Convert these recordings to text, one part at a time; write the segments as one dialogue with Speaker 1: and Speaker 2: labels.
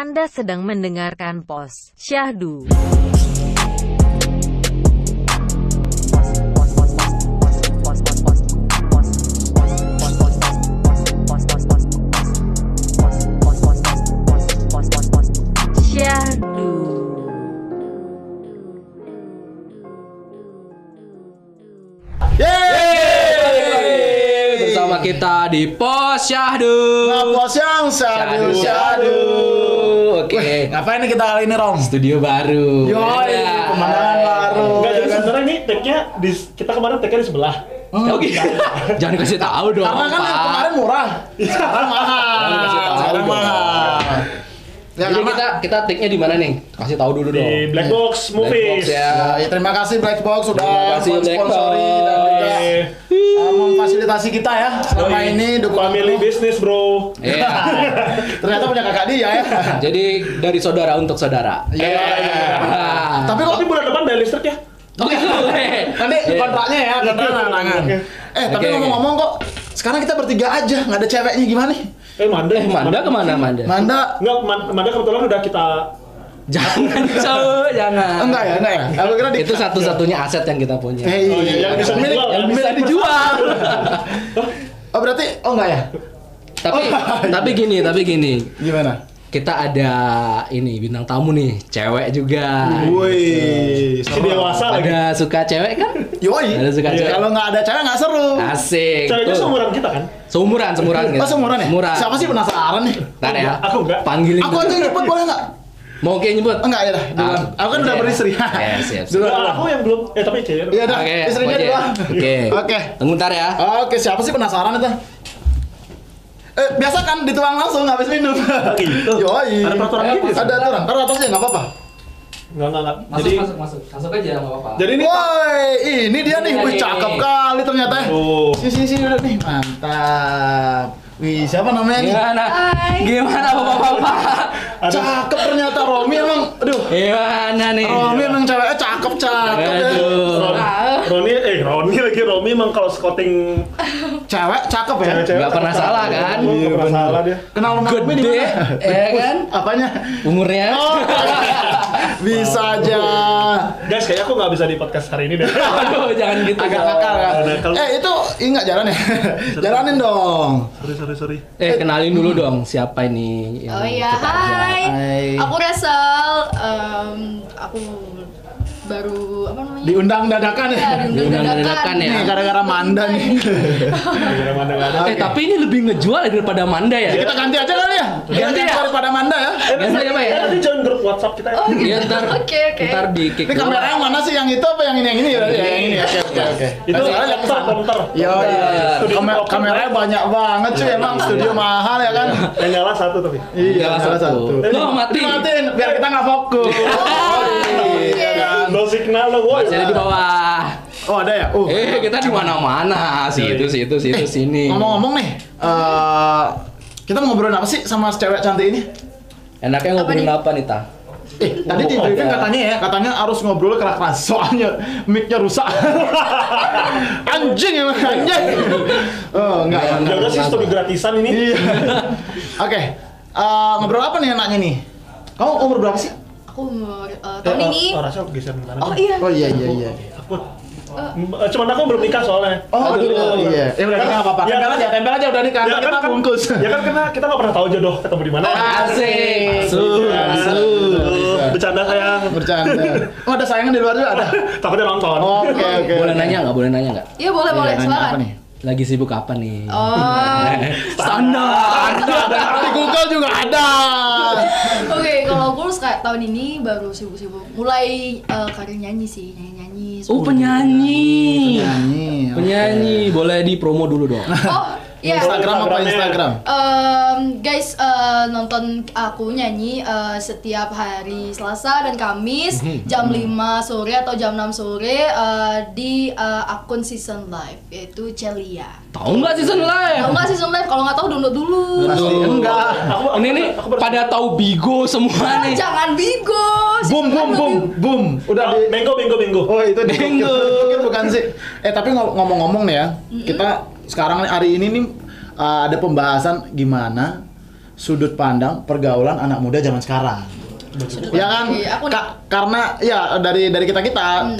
Speaker 1: Anda sedang mendengarkan pos Syahdu. Syahdu.
Speaker 2: Yeay!
Speaker 3: Bersama kita di Pos Syahdu.
Speaker 2: Ngapos yang sadu sadu.
Speaker 3: Oke.
Speaker 2: Ngapain nih kita kali ini Rom? Iya.
Speaker 3: Studio baru.
Speaker 2: Yoi,
Speaker 3: Ya.
Speaker 2: pemandangan baru.
Speaker 4: Enggak
Speaker 2: ya
Speaker 4: jadi
Speaker 3: iya.
Speaker 2: kan?
Speaker 4: sebenarnya ini tag-nya di kita kemarin tag-nya di sebelah.
Speaker 3: Oh, gitu. Jangan kasih tahu dong.
Speaker 2: Karena kan yang
Speaker 3: Pak.
Speaker 2: kemarin murah, sekarang mahal.
Speaker 3: Jangan kasih tahu
Speaker 2: Sekarang
Speaker 3: dong.
Speaker 2: mahal. Ya,
Speaker 3: Jadi
Speaker 2: karena-
Speaker 3: kita kita take-nya di mana nih? Kasih tahu dulu dong.
Speaker 4: Di Black Box Movies.
Speaker 3: Iya. Black Box ya.
Speaker 2: Ya, ya, terima kasih Blackbox sudah
Speaker 3: Terima kasih,
Speaker 2: mensponsori
Speaker 3: Black
Speaker 2: dan juga
Speaker 4: Eh,
Speaker 2: uh, memfasilitasi kita ya selama
Speaker 4: doi.
Speaker 2: ini dukungan
Speaker 4: family business, Bro.
Speaker 3: Iya.
Speaker 2: Ternyata punya kakak dia ya.
Speaker 3: Jadi dari saudara untuk saudara.
Speaker 2: Iya.
Speaker 3: Ah.
Speaker 2: Tapi kok
Speaker 4: Tapi bulan depan bayar listrik ya?
Speaker 3: Oke.
Speaker 2: Nanti
Speaker 3: Iya.
Speaker 2: kontraknya ya, kontraknya larangan.
Speaker 4: Oke.
Speaker 2: Eh, tapi
Speaker 3: Oke, oke.
Speaker 2: ngomong-ngomong kok sekarang kita bertiga aja, nggak ada ceweknya gimana nih?
Speaker 4: Eh, Manda.
Speaker 3: Eh, Manda kemana Manda?
Speaker 2: Manda
Speaker 4: Enggak, Man- Manda kebetulan udah kita
Speaker 3: Jangan cowok, jangan.
Speaker 2: enggak ya, enggak ya. Aku kira di
Speaker 3: Iya. Itu satu-satunya aset yang kita punya.
Speaker 2: Hei,
Speaker 4: Oh, iya, yang bisa
Speaker 2: milik-
Speaker 4: dijual,
Speaker 2: yang
Speaker 4: kan?
Speaker 2: bisa dijual.
Speaker 3: Eh,
Speaker 2: oh, berarti oh enggak ya?
Speaker 3: Tapi
Speaker 2: Oh.
Speaker 3: tapi gini, tapi gini.
Speaker 2: Gimana?
Speaker 3: Kita ada ini bintang tamu nih, cewek juga.
Speaker 2: Woi,
Speaker 4: si dewasa lagi.
Speaker 3: Ada suka cewek kan?
Speaker 2: Yoi.
Speaker 3: Ada suka
Speaker 2: Iya.
Speaker 3: cewek.
Speaker 2: Kalau nggak ada cewek nggak seru.
Speaker 3: Asik.
Speaker 4: Ceweknya
Speaker 3: tuh.
Speaker 4: seumuran kita kan?
Speaker 3: Seumuran, seumuran. gitu.
Speaker 2: Pas umuran ya?
Speaker 3: Seumuran.
Speaker 2: Siapa sih penasaran nih?
Speaker 3: Ntar ya.
Speaker 4: Aku enggak.
Speaker 3: Panggilin.
Speaker 2: Aku aja yang nyebut boleh nggak?
Speaker 3: Mau kayak nyebut.
Speaker 2: Enggak ya dah. duluan.
Speaker 3: Ah,
Speaker 2: Aku kan
Speaker 3: oke.
Speaker 2: udah beristri.
Speaker 3: Iya, siap, siap.
Speaker 2: Duluan.
Speaker 4: Enggak, aku yang belum. Eh, tapi ceweknya.
Speaker 2: Iya dah,
Speaker 3: Oke,
Speaker 2: istrinya
Speaker 3: Oke.
Speaker 2: duluan.
Speaker 3: Oke.
Speaker 2: Oke.
Speaker 3: Tunggu ntar ya.
Speaker 2: Oke, siapa sih penasaran itu? Eh, biasa kan dituang langsung habis minum.
Speaker 4: gitu.
Speaker 2: Yoi.
Speaker 4: Ada peraturan gitu ya?
Speaker 2: Ada aturan. Ntar atasnya nggak apa-apa.
Speaker 4: Enggak, enggak, enggak. Jadi
Speaker 3: masuk, masuk aja nggak apa-apa.
Speaker 4: jadi ini
Speaker 2: Woi, ini dia nih.
Speaker 3: Ini
Speaker 2: Wih,
Speaker 3: dia
Speaker 2: cakep
Speaker 3: nih.
Speaker 2: kali ternyata. ya.
Speaker 4: Tuh.
Speaker 2: Sini sini sini duduk nih. Mantap. Wih, siapa namanya nih?
Speaker 3: Gimana? Gimana bapak-bapak?
Speaker 4: ada
Speaker 2: Cakep ternyata Romi emang. Aduh.
Speaker 3: Gimana nih?
Speaker 2: Romi emang ceweknya cakep-cakep ya.
Speaker 3: Iya. Aduh.
Speaker 4: Ron-
Speaker 3: Ah.
Speaker 4: Roni eh Roni lagi Romi emang kalau scouting
Speaker 2: Cewek cakep ya.
Speaker 4: cewek-cewek
Speaker 3: Nggak pernah salah, kan?
Speaker 4: Enggak pernah salah dia.
Speaker 2: Kenal sama Romi di
Speaker 3: Gede,
Speaker 2: mana?
Speaker 3: ya kan?
Speaker 2: Apanya?
Speaker 3: Umurnya?
Speaker 2: Oh. Bisa aja.
Speaker 4: Guys, kayaknya aku nggak bisa di podcast hari ini deh.
Speaker 3: Aduh, jangan gitu.
Speaker 2: Agak
Speaker 3: dong.
Speaker 2: nakal ya.
Speaker 4: Nakal.
Speaker 2: Eh, itu ingat jalan ya. Jalanin dong.
Speaker 4: sorry, sorry, sorry.
Speaker 3: Eh kenalin dulu dong siapa ini yang
Speaker 5: Oh iya,
Speaker 3: kita ajak.
Speaker 5: hai.
Speaker 2: Hai.
Speaker 5: Aku Rasel. Em, aku baru apa namanya?
Speaker 2: Diundang dadakan ya.
Speaker 5: Ya,
Speaker 3: Iya, Diundang dadakan ya.
Speaker 2: Nih, gara-gara Manda nih.
Speaker 4: Gara-gara mana nggak ada.
Speaker 3: Eh tapi ini lebih ngejual daripada Manda ya.
Speaker 2: Kita ganti aja kali ya.
Speaker 3: Ganti ya?
Speaker 2: daripada Manda ya.
Speaker 3: Ganti apa ya?
Speaker 4: Eh, nanti join grup WhatsApp kita ya.
Speaker 5: Oh gitu.
Speaker 3: Iya ntar,
Speaker 5: Oke, oke.
Speaker 3: ntar di kick. Iya,
Speaker 2: Ini kamera yang mana sih? Yang itu apa yang ini? Yang ini ya? Ya, Yang ini. Oke, oke, oke.
Speaker 4: Itu
Speaker 2: Nah, soalnya yang
Speaker 4: komputer,
Speaker 2: kesana.
Speaker 4: komputer.
Speaker 2: Yo,
Speaker 3: Iya, iya.
Speaker 2: yo. Kamer- kameranya banyak banget cuy emang studio mahal ya kan.
Speaker 4: Yang nyala satu tapi.
Speaker 2: Iya, salah satu.
Speaker 3: Loh mati.
Speaker 2: Dimatiin biar kita nggak fokus. Iya kan.
Speaker 4: No signal lo, woi. Ya
Speaker 3: Jadi di bawah.
Speaker 2: Oh ada ya? Oh.
Speaker 3: Eh kita di mana-mana. Situ situ situ sini.
Speaker 2: Eh, Ngomong-ngomong nih, eh kita ngobrolin apa sih sama cewek cantik ini?
Speaker 3: Enaknya ngobrolin apa nih ta?
Speaker 2: Eh, tadi di briefing katanya ya, katanya harus ngobrol keras-keras soalnya mic-nya rusak. anjing emang anjing. Oh, enggak. enggak.
Speaker 4: Ya udah sih studi gratisan ini.
Speaker 2: Iya. Oke. Eh, ngobrol apa nih enaknya nih? Kamu umur berapa sih?
Speaker 5: Aku umur eh,
Speaker 4: Eh,
Speaker 5: tahun
Speaker 4: oh,
Speaker 5: ini.
Speaker 4: Oh, rasanya aku geser kemana?
Speaker 5: Oh iya.
Speaker 2: Oh iya iya iya.
Speaker 4: Aku Eh, Cuman aku belum nikah soalnya.
Speaker 2: Oh gitu. Iya. Ya udah nggak apa-apa.
Speaker 4: Ya,
Speaker 2: Tempel aja, tempel aja udah nih karena iya,
Speaker 4: Ya
Speaker 2: kita
Speaker 4: kan, kan,
Speaker 2: bungkus.
Speaker 4: ya kan karena kita nggak pernah tahu jodoh ketemu di
Speaker 5: Ah,
Speaker 4: mana.
Speaker 3: Asik.
Speaker 2: Masuk,
Speaker 4: Ya,
Speaker 2: masuk.
Speaker 4: aduh, Bercanda sayang.
Speaker 2: Bercanda. Oh ada sayangan di luar juga ada.
Speaker 4: Takutnya nonton.
Speaker 2: Oh, Oke oke.
Speaker 3: Boleh nanya nggak? Boleh nanya nggak?
Speaker 5: Iya boleh
Speaker 2: kan, Iya,
Speaker 5: boleh
Speaker 2: nanya
Speaker 5: silakan.
Speaker 2: apa nih?
Speaker 3: Lagi sibuk apa nih?
Speaker 5: Oh.
Speaker 2: Standar. Di Google juga ada.
Speaker 5: Oke, kalau aku kayak tahun ini baru sibuk-sibuk mulai eh, karir nyanyi sih, nyanyi-nyanyi.
Speaker 3: Oh penyanyi.
Speaker 2: Penyanyi.
Speaker 3: Penyanyi. Boleh di promo dulu dong.
Speaker 5: Oh, iya.
Speaker 2: Instagram apa Instagram?
Speaker 5: Em, guys eh, nonton aku nyanyi eh, setiap hari Selasa dan Kamis jam 5 sore atau jam 6 sore eh, di eh, akun Season Live yaitu Celia.
Speaker 3: Tahu nggak season live?
Speaker 5: Tahu nggak Season Live? Kalau nggak tahu download dulu.
Speaker 2: Pasti
Speaker 3: Aduh.
Speaker 2: enggak.
Speaker 4: Aku, aku,
Speaker 3: Ini nih
Speaker 4: aku ber-
Speaker 3: pada tahu Bigo semua
Speaker 5: Ah,
Speaker 3: nih.
Speaker 5: jangan bigo.
Speaker 2: Boom boom boom boom. Udah di
Speaker 4: Minggu, minggu, minggu.
Speaker 2: Oh itu di
Speaker 3: Minggu.
Speaker 2: Mungkin bukan sih. Eh tapi ngom- ngomong-ngomong nih ya, kita sekarang nih, hari ini nih uh, ada pembahasan eh, gimana sudut pandang pergaulan anak muda zaman sekarang. Ya kan?
Speaker 5: Iya, aku- Hmm.
Speaker 2: Ka- karena ya dari dari kita kita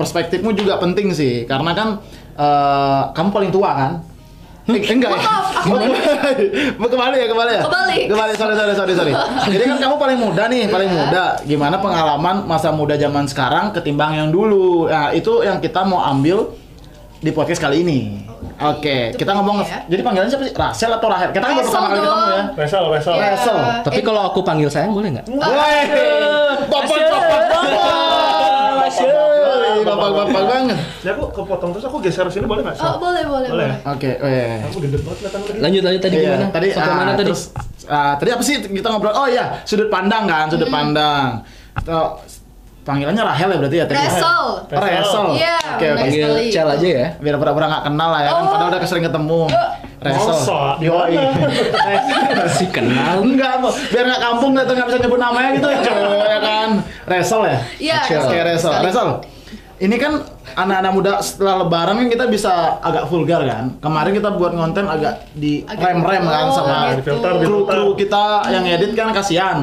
Speaker 2: perspektifmu juga penting sih karena kan eh, kamu paling tua kan? Eh, enggak ya?
Speaker 5: Hmm. Maaf, aku
Speaker 2: Oh, kembali. kembali ya, kembali ya?
Speaker 5: Kebalik. Iya.
Speaker 2: Kembali, sorry, sorry, sorry, sorry. Jadi kan kamu paling muda nih, paling muda. Gimana pengalaman masa muda zaman sekarang ketimbang yang dulu? Nah, itu yang kita mau ambil di podcast kali ini. Oke,
Speaker 5: Itu
Speaker 2: kita ngomong.
Speaker 5: penting ya.
Speaker 2: Jadi panggilan siapa sih? Rasel atau Rahel? Kita kan baru
Speaker 5: Rasel
Speaker 2: pertama kali ketemu
Speaker 5: dong.
Speaker 2: ya.
Speaker 4: Resel, resel.
Speaker 5: Iya.
Speaker 2: Resel.
Speaker 3: Tapi
Speaker 5: Eh,
Speaker 3: kalau aku panggil sayang boleh nggak?
Speaker 2: Woi, bapak bapak bapak bapak bapak banget.
Speaker 4: Ya aku kepotong terus aku geser sini boleh nggak?
Speaker 5: Oh,
Speaker 4: Sel?
Speaker 5: boleh, boleh,
Speaker 4: Boleh.
Speaker 5: boleh.
Speaker 2: Oke, eh.
Speaker 4: Aku gendut banget kelihatan tadi.
Speaker 3: Lanjut lanjut tadi
Speaker 2: Iya,
Speaker 3: gimana?
Speaker 2: Tadi
Speaker 3: Sampai
Speaker 2: ah,
Speaker 3: mana tadi?
Speaker 2: Terus ah, tadi apa sih kita ngobrol? Oh iya, sudut pandang kan, sudut
Speaker 3: Hmm.
Speaker 2: pandang. Tuh, panggilannya Rahel ya berarti ya tadi.
Speaker 5: Wrestle.
Speaker 2: Resel.
Speaker 5: Iya,
Speaker 2: Oke, oke.
Speaker 5: nice.
Speaker 3: Panggil
Speaker 5: sekali.
Speaker 3: Cel aja ya.
Speaker 2: Biar pura-pura nggak kenal lah ya kan,
Speaker 5: Oh.
Speaker 2: padahal udah sering ketemu. Resel.
Speaker 4: Masa?
Speaker 2: Yoi.
Speaker 3: Si kenal.
Speaker 2: Enggak, mau. biar nggak kampung gitu nggak bisa nyebut namanya gitu ya, cowok, ya kan. Resel ya.
Speaker 5: Iya,
Speaker 2: Oke,
Speaker 5: Resel.
Speaker 2: Oke, Resel.
Speaker 5: Sekali.
Speaker 2: Resel. Ini kan anak-anak muda setelah lebaran kan kita bisa agak vulgar kan. Kemarin kita buat konten agak di
Speaker 5: Agak-
Speaker 2: rem-rem kan
Speaker 5: Oh,
Speaker 2: sama
Speaker 5: gitu.
Speaker 4: Filter,
Speaker 2: kru kru
Speaker 4: filter.
Speaker 2: kita yang edit kan kasihan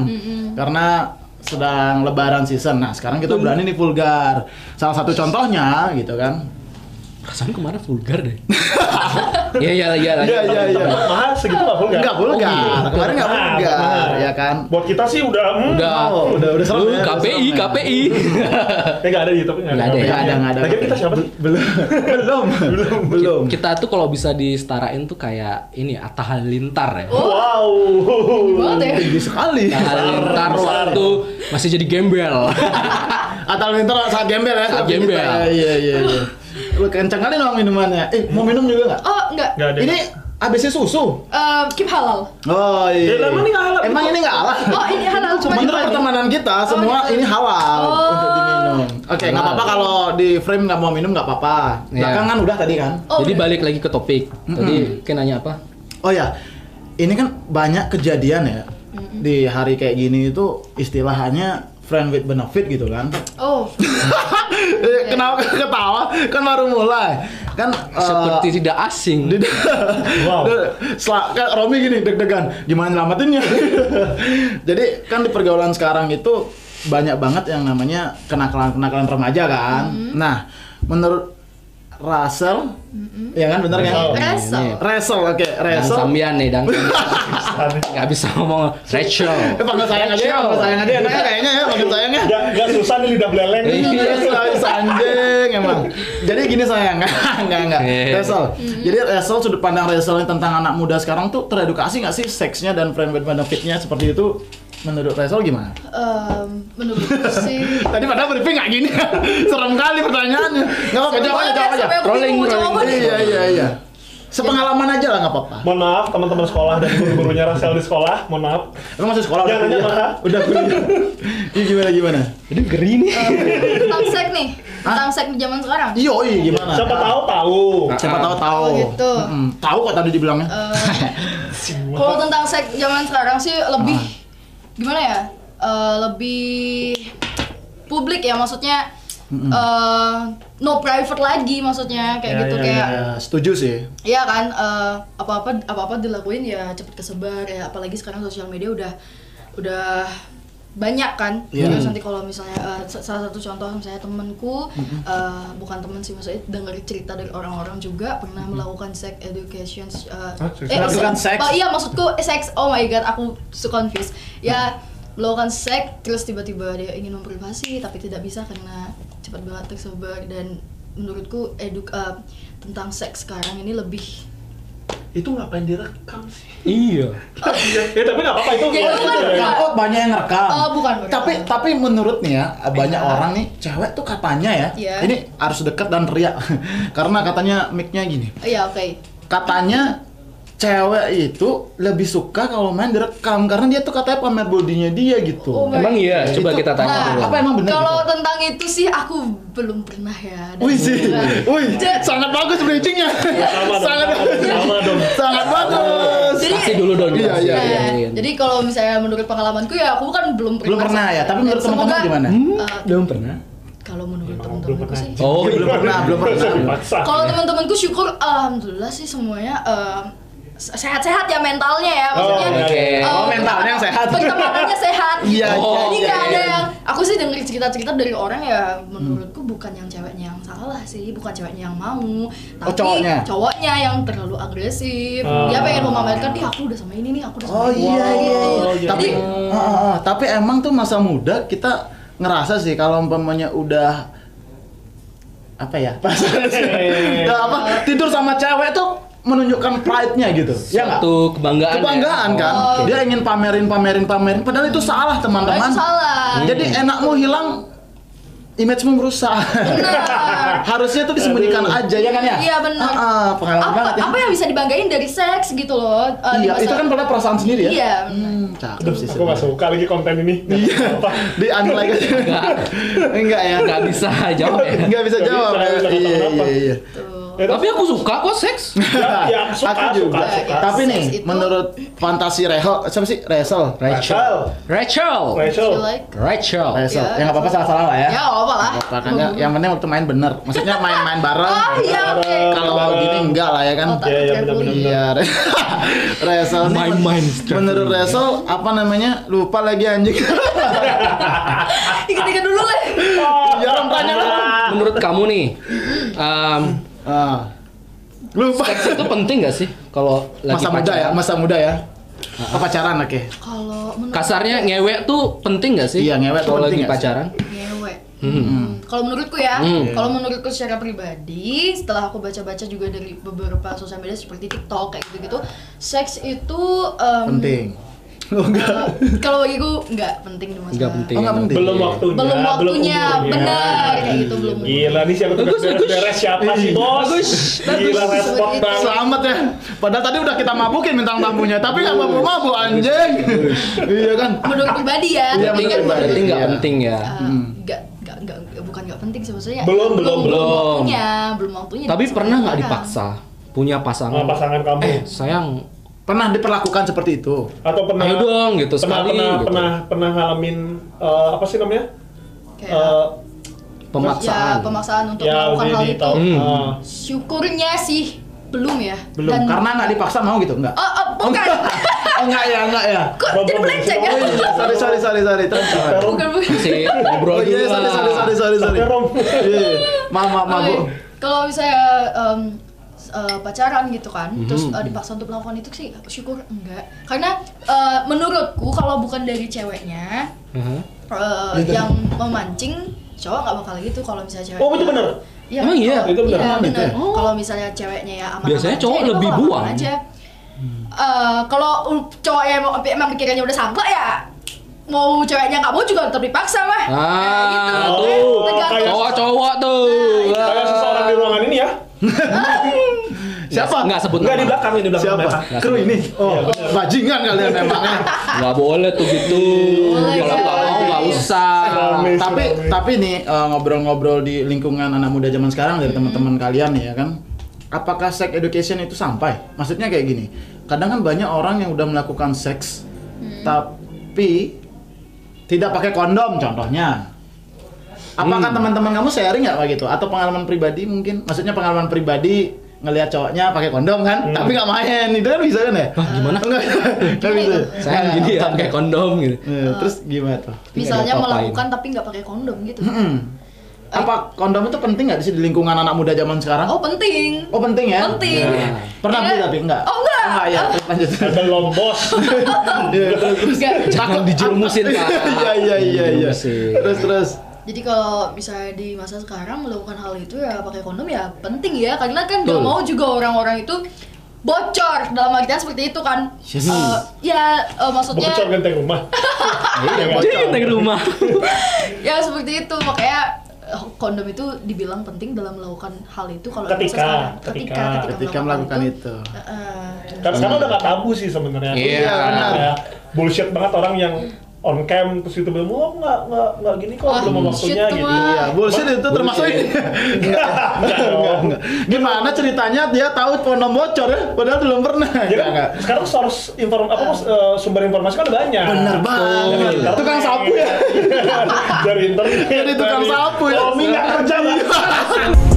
Speaker 2: karena sedang lebaran season nah sekarang kita berani nih vulgar salah satu contohnya gitu kan
Speaker 3: Perasaan kemana vulgar deh. Iya iya iya.
Speaker 2: Iya,
Speaker 3: lanjut.
Speaker 2: iya, iya.
Speaker 4: Mahal segitu nggak vulgar. Oh,
Speaker 2: nggak vulgar kemarin nggak
Speaker 4: Mahal,
Speaker 2: vulgar
Speaker 4: mahal.
Speaker 2: ya kan
Speaker 4: Buat kita sih udah. hmm,
Speaker 3: Udah.
Speaker 2: Oh, udah udah serem
Speaker 3: Lu
Speaker 2: ya, udah
Speaker 3: Uh, KPI
Speaker 2: serem ya.
Speaker 3: KPI.
Speaker 4: Eh nggak ada di YouTube nggak
Speaker 3: Nggak ada ya?
Speaker 2: nggak ada nggak ada
Speaker 4: Lagian kita siapa sih?
Speaker 2: belum belum belum belum
Speaker 3: Kita tuh kalau bisa disetarain tuh kayak ini Atta Halilintar ya.
Speaker 5: Oh.
Speaker 4: Wow.
Speaker 5: Banget ya.
Speaker 2: tinggi sekali
Speaker 3: Atta Halilintar
Speaker 4: besar.
Speaker 3: waktu masih jadi gembel.
Speaker 2: atau minta saat gembel ya tapi
Speaker 3: Saat
Speaker 2: kita-
Speaker 3: gembel.
Speaker 2: iya iya iya lu kenceng kali dong minumannya eh mau minum juga nggak
Speaker 5: Oh, enggak.
Speaker 4: Nggak ada.
Speaker 2: ini abisnya susu
Speaker 5: Eh, keep halal.
Speaker 2: oh iya
Speaker 4: Eh, emang ini nggak halal?
Speaker 2: emang ini nggak halal
Speaker 5: Oh, ini halal cuma
Speaker 2: Menurut pertemanan kita semua
Speaker 5: gitu.
Speaker 2: ini halal
Speaker 5: Oh.
Speaker 2: untuk diminum. Oke, nggak
Speaker 3: Halal.
Speaker 2: apa-apa kalau di frame nggak mau minum nggak apa-apa.
Speaker 3: Iya.
Speaker 2: Belakangan udah tadi kan.
Speaker 5: Oh,
Speaker 3: Jadi
Speaker 5: udah.
Speaker 3: balik lagi ke topik. Tadi kayak nanya apa?
Speaker 2: Oh ya, ini kan banyak kejadian ya di hari kayak gini itu istilahnya friend with benefit gitu kan.
Speaker 5: Oh,
Speaker 2: Eh, Kenapa ketawa? Kan baru mulai. Kan eh,
Speaker 3: Seperti tidak asing.
Speaker 2: di-
Speaker 4: Wow.
Speaker 2: Setelah- kan Romi gini deg-degan, gimana nyelamatinnya? Jadi kan di pergaulan sekarang itu banyak banget yang namanya kenakalan-kenakalan remaja kan. Nah, menurut Russell, ya kan bener kan?
Speaker 4: Russell.
Speaker 5: wrestle.
Speaker 2: Russell, oke,
Speaker 3: Dang
Speaker 2: Russell.
Speaker 3: Sambian nih, Dang Sambian. Nggak bisa ngomong Rachel.
Speaker 2: Eh, panggil sayang aja, ya,
Speaker 3: Rachel.
Speaker 2: panggil sayang aja, enaknya kayaknya ya, panggil sayang ya.
Speaker 4: Nggak nggak susah nih lidah beleleng.
Speaker 2: Iya, selalu anjing emang. Jadi gini sayang, enggak enggak.
Speaker 3: Oke.
Speaker 2: Resel.
Speaker 5: Hmm.
Speaker 2: Jadi Resel sudut pandang Resel tentang anak muda sekarang tuh teredukasi nggak sih seksnya dan friend with benefitnya seperti itu menurut Resel gimana?
Speaker 5: Em, menurutku sih
Speaker 2: Tadi padahal briefing nggak gini, serem kali pertanyaannya. Nggak apa-apa, jawab aja, jawab aja.
Speaker 5: Sampai aku
Speaker 3: Rolling,
Speaker 5: bingung mau jawab
Speaker 3: rolling.
Speaker 5: apa.
Speaker 2: Iya iya iya. Sepengalaman aja lah nggak apa-apa.
Speaker 4: Mohon maaf teman-teman sekolah dan guru-gurunya Rasel di sekolah. Mohon maaf.
Speaker 2: Emang masih sekolah udah
Speaker 4: Jangan,
Speaker 2: kuliah?
Speaker 4: jangan.
Speaker 2: Udah kuliah. Iya gimana gimana?
Speaker 3: Ini geri nih.
Speaker 5: tentang sek nih tentang sek di zaman sekarang
Speaker 2: Iya, iya gimana?
Speaker 4: Siapa tahu tahu.
Speaker 2: Siapa tahu tahu.
Speaker 5: Oh, gitu. Oh,
Speaker 2: Mm-mm. Tahu kok tadi dibilangnya.
Speaker 5: kalau tentang sek zaman sekarang sih lebih gimana ya Eh, lebih publik ya maksudnya eh, no private lagi maksudnya kayak
Speaker 4: Ya,
Speaker 5: gitu
Speaker 4: ya,
Speaker 5: kayak
Speaker 2: Ya, setuju sih.
Speaker 5: Iya kan, eh, apa-apa apa-apa dilakuin ya cepet kesebar ya, apalagi sekarang sosial media udah udah banyak kan.
Speaker 2: Iya.
Speaker 5: Terus nanti kalau misalnya eh, sa- salah satu contoh misalnya temanku eh, bukan teman sih maksudnya dengar cerita dari orang-orang juga pernah melakukan sex education eh,
Speaker 4: Hah, sex-
Speaker 2: melakukan
Speaker 5: se-
Speaker 2: seks?
Speaker 5: Oh, iya maksudku eh, sex. Oh my god, aku so confused.
Speaker 2: Hmm.
Speaker 5: Ya melakukan seks terus tiba-tiba dia ingin memprivasi tapi tidak bisa karena cepat banget tersebar dan menurutku eduk eh, tentang seks sekarang ini lebih
Speaker 4: Itu ngapain direkam sih?
Speaker 3: Iya.
Speaker 4: Ya tapi nggak apa-apa itu.
Speaker 5: Ya, itu kan
Speaker 4: Ya,
Speaker 5: rekam.
Speaker 2: Oh, banyak yang rekam.
Speaker 5: Oh, bukan, bukan.
Speaker 2: Tapi tapi menurut nih ya, banyak orang nih cewek tuh katanya ya.
Speaker 5: Iya.
Speaker 2: Ini harus dekat dan teriak. Karena katanya mic-nya gini.
Speaker 5: iya oke
Speaker 2: Katanya cewek itu lebih suka kalau main direkam karena dia tuh katanya pamer bodinya dia gitu.
Speaker 5: Oh,
Speaker 3: Emang iya,
Speaker 2: Itu-
Speaker 3: coba kita tanya
Speaker 5: Nah,
Speaker 3: dulu.
Speaker 2: apa emang bener?
Speaker 5: Kalau
Speaker 2: gitu?
Speaker 5: tentang itu sih aku belum pernah ya. dan
Speaker 2: Wih sih,
Speaker 5: belum-
Speaker 2: wih,
Speaker 5: Ja-
Speaker 2: sangat bagus bridgingnya,
Speaker 4: Iya, Sama dong,
Speaker 2: sangat,
Speaker 4: sama dong, sama dong.
Speaker 2: sangat bagus.
Speaker 5: Jadi-
Speaker 3: Kasih dulu dong.
Speaker 2: Iya,
Speaker 3: kasih.
Speaker 2: iya,
Speaker 5: Nah,
Speaker 2: iya,
Speaker 5: Jadi kalau misalnya menurut pengalamanku ya aku kan belum pernah.
Speaker 2: Belum pernah ya, tapi menurut
Speaker 5: Semoga- Eh,
Speaker 2: teman-teman gimana?
Speaker 3: Hmm, belum pernah.
Speaker 5: Kalau menurut
Speaker 4: Emang Iya, belum
Speaker 5: teman-temanku
Speaker 4: pernah.
Speaker 5: sih.
Speaker 3: Oh,
Speaker 2: Iya, Belum pernah, belum pernah.
Speaker 4: Dipaksa.
Speaker 5: Kalau teman-temanku syukur alhamdulillah sih semuanya em, sehat-sehat ya mentalnya ya maksudnya
Speaker 4: Oh,
Speaker 3: oke.
Speaker 2: Oh, mentalnya yang sehat.
Speaker 5: pertemanannya sehat
Speaker 2: Iya,
Speaker 3: iya,
Speaker 5: gitu. jadi
Speaker 3: iya,
Speaker 5: nggak ada
Speaker 3: iya.
Speaker 5: yang aku sih denger cerita-cerita dari orang ya menurutku
Speaker 2: Hmm.
Speaker 5: bukan yang ceweknya yang salah sih bukan ceweknya yang mau tapi
Speaker 2: Oh, cowoknya? Ah.
Speaker 5: cowoknya yang terlalu agresif dia pengen memamerkan nih aku udah sama ini nih aku udah sama
Speaker 2: Oh
Speaker 5: ini
Speaker 2: iya iya.
Speaker 5: gitu.
Speaker 2: iya. Tapi ah,
Speaker 5: jadi
Speaker 2: ah, ah. tapi emang tuh masa muda kita ngerasa sih kalau umpamanya udah apa ya? Udah apa? Tidur sama cewek tuh menunjukkan pride-nya gitu. Ya nggak?
Speaker 3: Satu kebanggaan. ya?
Speaker 2: Kebanggaan kan?
Speaker 5: Oh, oke.
Speaker 2: Dia ingin pamerin pamerin pamerin padahal itu salah, teman-teman.
Speaker 5: Padahal itu salah.
Speaker 2: Jadi enakmu hilang image-mu merusak.
Speaker 5: Benar.
Speaker 2: Harusnya tuh disembunyikan aja ya kan ya?
Speaker 5: Iya, benar.
Speaker 2: Ah, ah, pengalaman
Speaker 5: apa,
Speaker 2: banget ya.
Speaker 5: apa yang bisa dibanggain dari seks gitu loh eh, di
Speaker 2: Iya,
Speaker 5: masa-
Speaker 2: itu kan pada perasaan sendiri ya.
Speaker 5: Iya, benar.
Speaker 2: Hmm, cakep
Speaker 4: Aduh,
Speaker 2: sih.
Speaker 4: aku gak suka lagi konten ini.
Speaker 2: Iya,
Speaker 4: Apa?
Speaker 2: di unlike aja. Enggak ya.
Speaker 3: Oh, Nggak bisa jawab ya.
Speaker 2: Enggak bisa
Speaker 4: Nggak
Speaker 2: jawab.
Speaker 4: bisa, nggak bisa
Speaker 2: Iya,
Speaker 4: kenapa-napa.
Speaker 2: iya, iya.
Speaker 5: Tuh.
Speaker 4: Ya,
Speaker 3: Tapi aku suka kok seks.
Speaker 4: Ya, ya, aku suka,
Speaker 2: Aku
Speaker 4: suka,
Speaker 2: juga.
Speaker 4: suka.
Speaker 2: Tapi nih,
Speaker 5: Seks itu-
Speaker 2: menurut fantasi Reho, siapa sih? Resel.
Speaker 4: Rachel,
Speaker 3: Rachel.
Speaker 4: Rachel,
Speaker 5: Feel like-
Speaker 3: Rachel.
Speaker 2: Resel.
Speaker 5: Ya,
Speaker 2: Ya nggak apa-apa salah-salah lah ya.
Speaker 5: ya nggak apa-apa lah
Speaker 2: Apa kan ya, yang penting waktu main bener. Maksudnya main-main bareng.
Speaker 5: oh iya oke
Speaker 2: Kalau gini enggak lah ya kan.
Speaker 5: Oh, tak
Speaker 4: Iya, iya,
Speaker 5: carefully.
Speaker 4: benar-benar.
Speaker 2: Iya, Re- Resel nih. men-
Speaker 3: Main-main
Speaker 2: Menurut Resel apa namanya? Lupa lagi anjing.
Speaker 5: Ingat-ingat dulu lah.
Speaker 4: Ah,
Speaker 2: Jarang tanya lah.
Speaker 3: Menurut kamu nih, em,
Speaker 2: Ah. Lupa.
Speaker 3: seks itu penting gak sih kalau lagi
Speaker 2: Masa muda ya,
Speaker 3: pacaran?
Speaker 2: masa muda ya. Apa pacaran oke?
Speaker 5: Kalau menurut
Speaker 3: Kasarnya ngewe tuh penting gak sih?
Speaker 2: Iya, ngewe tuh
Speaker 3: kalau
Speaker 2: penting nggak
Speaker 3: lagi
Speaker 2: sih? Iya,
Speaker 3: pacaran.
Speaker 5: ngewe. Hmm. Kalau menurutku ya, kalau menurutku secara pribadi, setelah aku baca-baca juga dari beberapa sosial media seperti TikTok kayak gitu-gitu, seks itu em,
Speaker 2: Penting. Lu Oh,
Speaker 5: eh,
Speaker 2: enggak.
Speaker 5: kalau bagiku nggak penting di masa.
Speaker 3: Nggak penting.
Speaker 2: Oh, nggak penting.
Speaker 4: Iya, belum waktunya,
Speaker 5: Belum waktunya,
Speaker 4: umurnya. Iya.
Speaker 5: benar kayak gitu belum.
Speaker 4: Gila nih siapa tuh
Speaker 3: Bagus,
Speaker 4: beres siapa sih bos? Gila repot banget.
Speaker 2: Selamat ya. Padahal tadi udah kita mabukin bintang tamunya, tapi nggak mau mabuk anjing. iya kan?
Speaker 5: Menurut pribadi ya,
Speaker 2: Iya,
Speaker 5: tapi
Speaker 2: menurut
Speaker 5: kan
Speaker 2: pribadi.
Speaker 3: Berarti
Speaker 5: menurut
Speaker 3: nggak
Speaker 2: Iya.
Speaker 3: penting ya.
Speaker 5: eh, nggak nggak nggak nggak- bukan nggak penting sih maksudnya
Speaker 4: Belum, belum,
Speaker 5: belum
Speaker 3: belum.
Speaker 5: waktunya belum waktunya
Speaker 3: Tapi
Speaker 5: di masa
Speaker 3: pernah nggak
Speaker 5: sekarang.
Speaker 3: dipaksa punya
Speaker 4: Sama
Speaker 3: pasangan?
Speaker 4: pasangan kamu
Speaker 3: Eh, sayang,
Speaker 2: Pernah diperlakukan seperti itu.
Speaker 4: atau pernah
Speaker 3: ayo dong gitu
Speaker 4: pernah
Speaker 3: sekali
Speaker 4: pernah
Speaker 3: gitu.
Speaker 4: pernah pernah ngalamin eh, apa sih namanya?
Speaker 5: Kayak,
Speaker 4: Eh,
Speaker 3: pemaksaan.
Speaker 5: ya pemaksaan Ya. untuk
Speaker 4: ya
Speaker 5: melakukan
Speaker 4: udah
Speaker 5: hal
Speaker 4: di
Speaker 5: itu
Speaker 4: tahu.
Speaker 3: Hmm.
Speaker 4: Ah.
Speaker 5: syukurnya sih belum ya
Speaker 2: Belum.
Speaker 5: Dan-
Speaker 2: Kan Karena nggak dipaksa mau gitu, enggak?
Speaker 5: oh, oh,
Speaker 2: Oh,
Speaker 5: bukan
Speaker 2: enggak. Oh, enggak ya, enggak ya.
Speaker 5: kok
Speaker 4: Belum,
Speaker 5: jadi
Speaker 4: belum.
Speaker 5: melenceng ya
Speaker 2: Oh iya, sorry sorry sorry sorry. Terus, sorry.
Speaker 5: bukan bukan
Speaker 3: Masih ngobrol
Speaker 2: Oh iya,
Speaker 3: dulu
Speaker 2: sorry
Speaker 3: lah.
Speaker 2: sorry sorry sorry sorry.
Speaker 4: Tapi, Rom.
Speaker 2: Iya, iya. Maaf maaf maaf, Bu.
Speaker 5: Oke. kalau misalnya em, s- eh, pacaran gitu kan
Speaker 3: Mhm.
Speaker 5: terus eh, dipaksa untuk melakukan itu sih syukur enggak karena eh, menurutku kalau bukan dari ceweknya
Speaker 3: Aha.
Speaker 5: eh,
Speaker 4: Iya,
Speaker 5: yang memancing cowok nggak bakal gitu kalau misalnya cewek
Speaker 4: Oh itu benar.
Speaker 5: Iya,
Speaker 3: Emang iya?
Speaker 5: kalau-
Speaker 4: Itu benar.
Speaker 5: Iya,
Speaker 4: Emang
Speaker 5: benar.
Speaker 2: gitu
Speaker 3: ya?
Speaker 5: Kalau misalnya ceweknya ya aman.
Speaker 3: Biasanya cowok lebih buang.
Speaker 5: Aja. Eh, kalau um, cowok yang emang, emang pikirannya udah sangka ya mau ceweknya nggak mau juga tetap dipaksa mah. Kayak gitu.
Speaker 3: Ah,
Speaker 5: Kan
Speaker 3: tuh.
Speaker 5: tergantung-
Speaker 4: Kayak-
Speaker 3: Cowok-cowok tuh.
Speaker 4: Kayak seseorang di ruangan ini ya.
Speaker 2: Siapa?
Speaker 3: Nggak sebut
Speaker 4: Enggak di
Speaker 3: nama.
Speaker 4: belakang ini di belakang
Speaker 2: Siapa?
Speaker 4: mereka.
Speaker 2: Kru ini. Oh, bajingan kalian ya. emangnya.
Speaker 3: Nggak boleh tuh gitu.
Speaker 5: Boleh,
Speaker 3: Kalau nggak
Speaker 5: boleh.
Speaker 3: mau nggak usah.
Speaker 4: Rame,
Speaker 2: tapi
Speaker 4: rame.
Speaker 2: tapi nih eh, ngobrol-ngobrol di lingkungan anak muda zaman sekarang
Speaker 3: Hmm.
Speaker 2: dari teman-teman kalian ya kan apakah sex education itu sampai maksudnya kayak gini kadang kan banyak orang yang udah melakukan seks
Speaker 3: Hmm.
Speaker 2: tapi tidak pakai kondom contohnya
Speaker 3: Hmm.
Speaker 2: apakah teman-teman kamu sharing nggak kayak gitu atau pengalaman pribadi mungkin maksudnya pengalaman pribadi ngelihat cowoknya pakai kondom kan tapi nggak main itu kan bisa kan ya
Speaker 3: Hah, Hmm. gimana?
Speaker 2: Enggak, nggak
Speaker 5: Gimana
Speaker 2: bisa
Speaker 5: itu?
Speaker 3: Sayang
Speaker 2: Iya.
Speaker 3: gini ya, pakai kondom gitu.
Speaker 2: Eh, terus gimana tuh
Speaker 5: Misalnya
Speaker 3: diapa-apain.
Speaker 5: melakukan tapi nggak pakai kondom gitu.
Speaker 2: Hmm. Apa kondom itu penting nggak sih di lingkungan anak muda zaman sekarang? Oh,
Speaker 5: Oh penting.
Speaker 2: penting ya?
Speaker 5: Penting.
Speaker 3: Ya.
Speaker 2: Pernah
Speaker 5: Iya.
Speaker 2: beli tapi enggak?
Speaker 5: Oh, enggak.
Speaker 2: ya, terus lanjut.
Speaker 4: Belum bos.
Speaker 2: Iya, terus terus.
Speaker 5: Enggak.
Speaker 3: Jangan dijerumusin Pak.
Speaker 2: Iya iya iya iya.
Speaker 3: Dijerumusin.
Speaker 2: Terus terus.
Speaker 5: Jadi kalau misalnya di masa sekarang melakukan hal itu ya pakai kondom ya penting ya karena kan nggak
Speaker 3: Betul.
Speaker 5: mau juga orang-orang itu bocor dalam artian seperti itu kan.
Speaker 2: Yes.
Speaker 5: Eh, ya eh, maksudnya
Speaker 4: Bocor genteng rumah.
Speaker 3: Iya, bocor. Di rumah.
Speaker 5: ya seperti itu makanya eh, kondom itu dibilang penting dalam melakukan hal itu kalau di masa
Speaker 4: Ketika,
Speaker 5: sekarang.
Speaker 4: ketika. Kan
Speaker 2: Ketika melakukan itu.
Speaker 5: Eh, eh,
Speaker 4: Karena
Speaker 2: Hmm.
Speaker 4: sekarang udah gak tabu sih sebenarnya.
Speaker 3: Iya.
Speaker 4: Kayak bullshit banget orang yang on cam terus itu bilang, oh nggak nggak nggak gini kok
Speaker 5: Wah,
Speaker 4: belum
Speaker 5: bullshit
Speaker 4: waktunya
Speaker 5: tuh,
Speaker 4: gitu.
Speaker 5: Wak.
Speaker 2: Ya, bullshit itu termasuk ini. Enggak, enggak, enggak. Gimana ceritanya dia tahu kondom bocor ya? Padahal belum pernah.
Speaker 4: Ya
Speaker 2: Enggak,
Speaker 4: kan?
Speaker 2: enggak.
Speaker 4: Sekarang source inform apa eh, sumber informasi kan ada banyak.
Speaker 2: Bener banget.
Speaker 4: Dari
Speaker 2: Tukang
Speaker 4: internet.
Speaker 2: sapu ya.
Speaker 4: dari internet.
Speaker 2: Jadi tukang
Speaker 4: dari-
Speaker 2: sapu ya.
Speaker 4: Oh, minyak kerja Pak.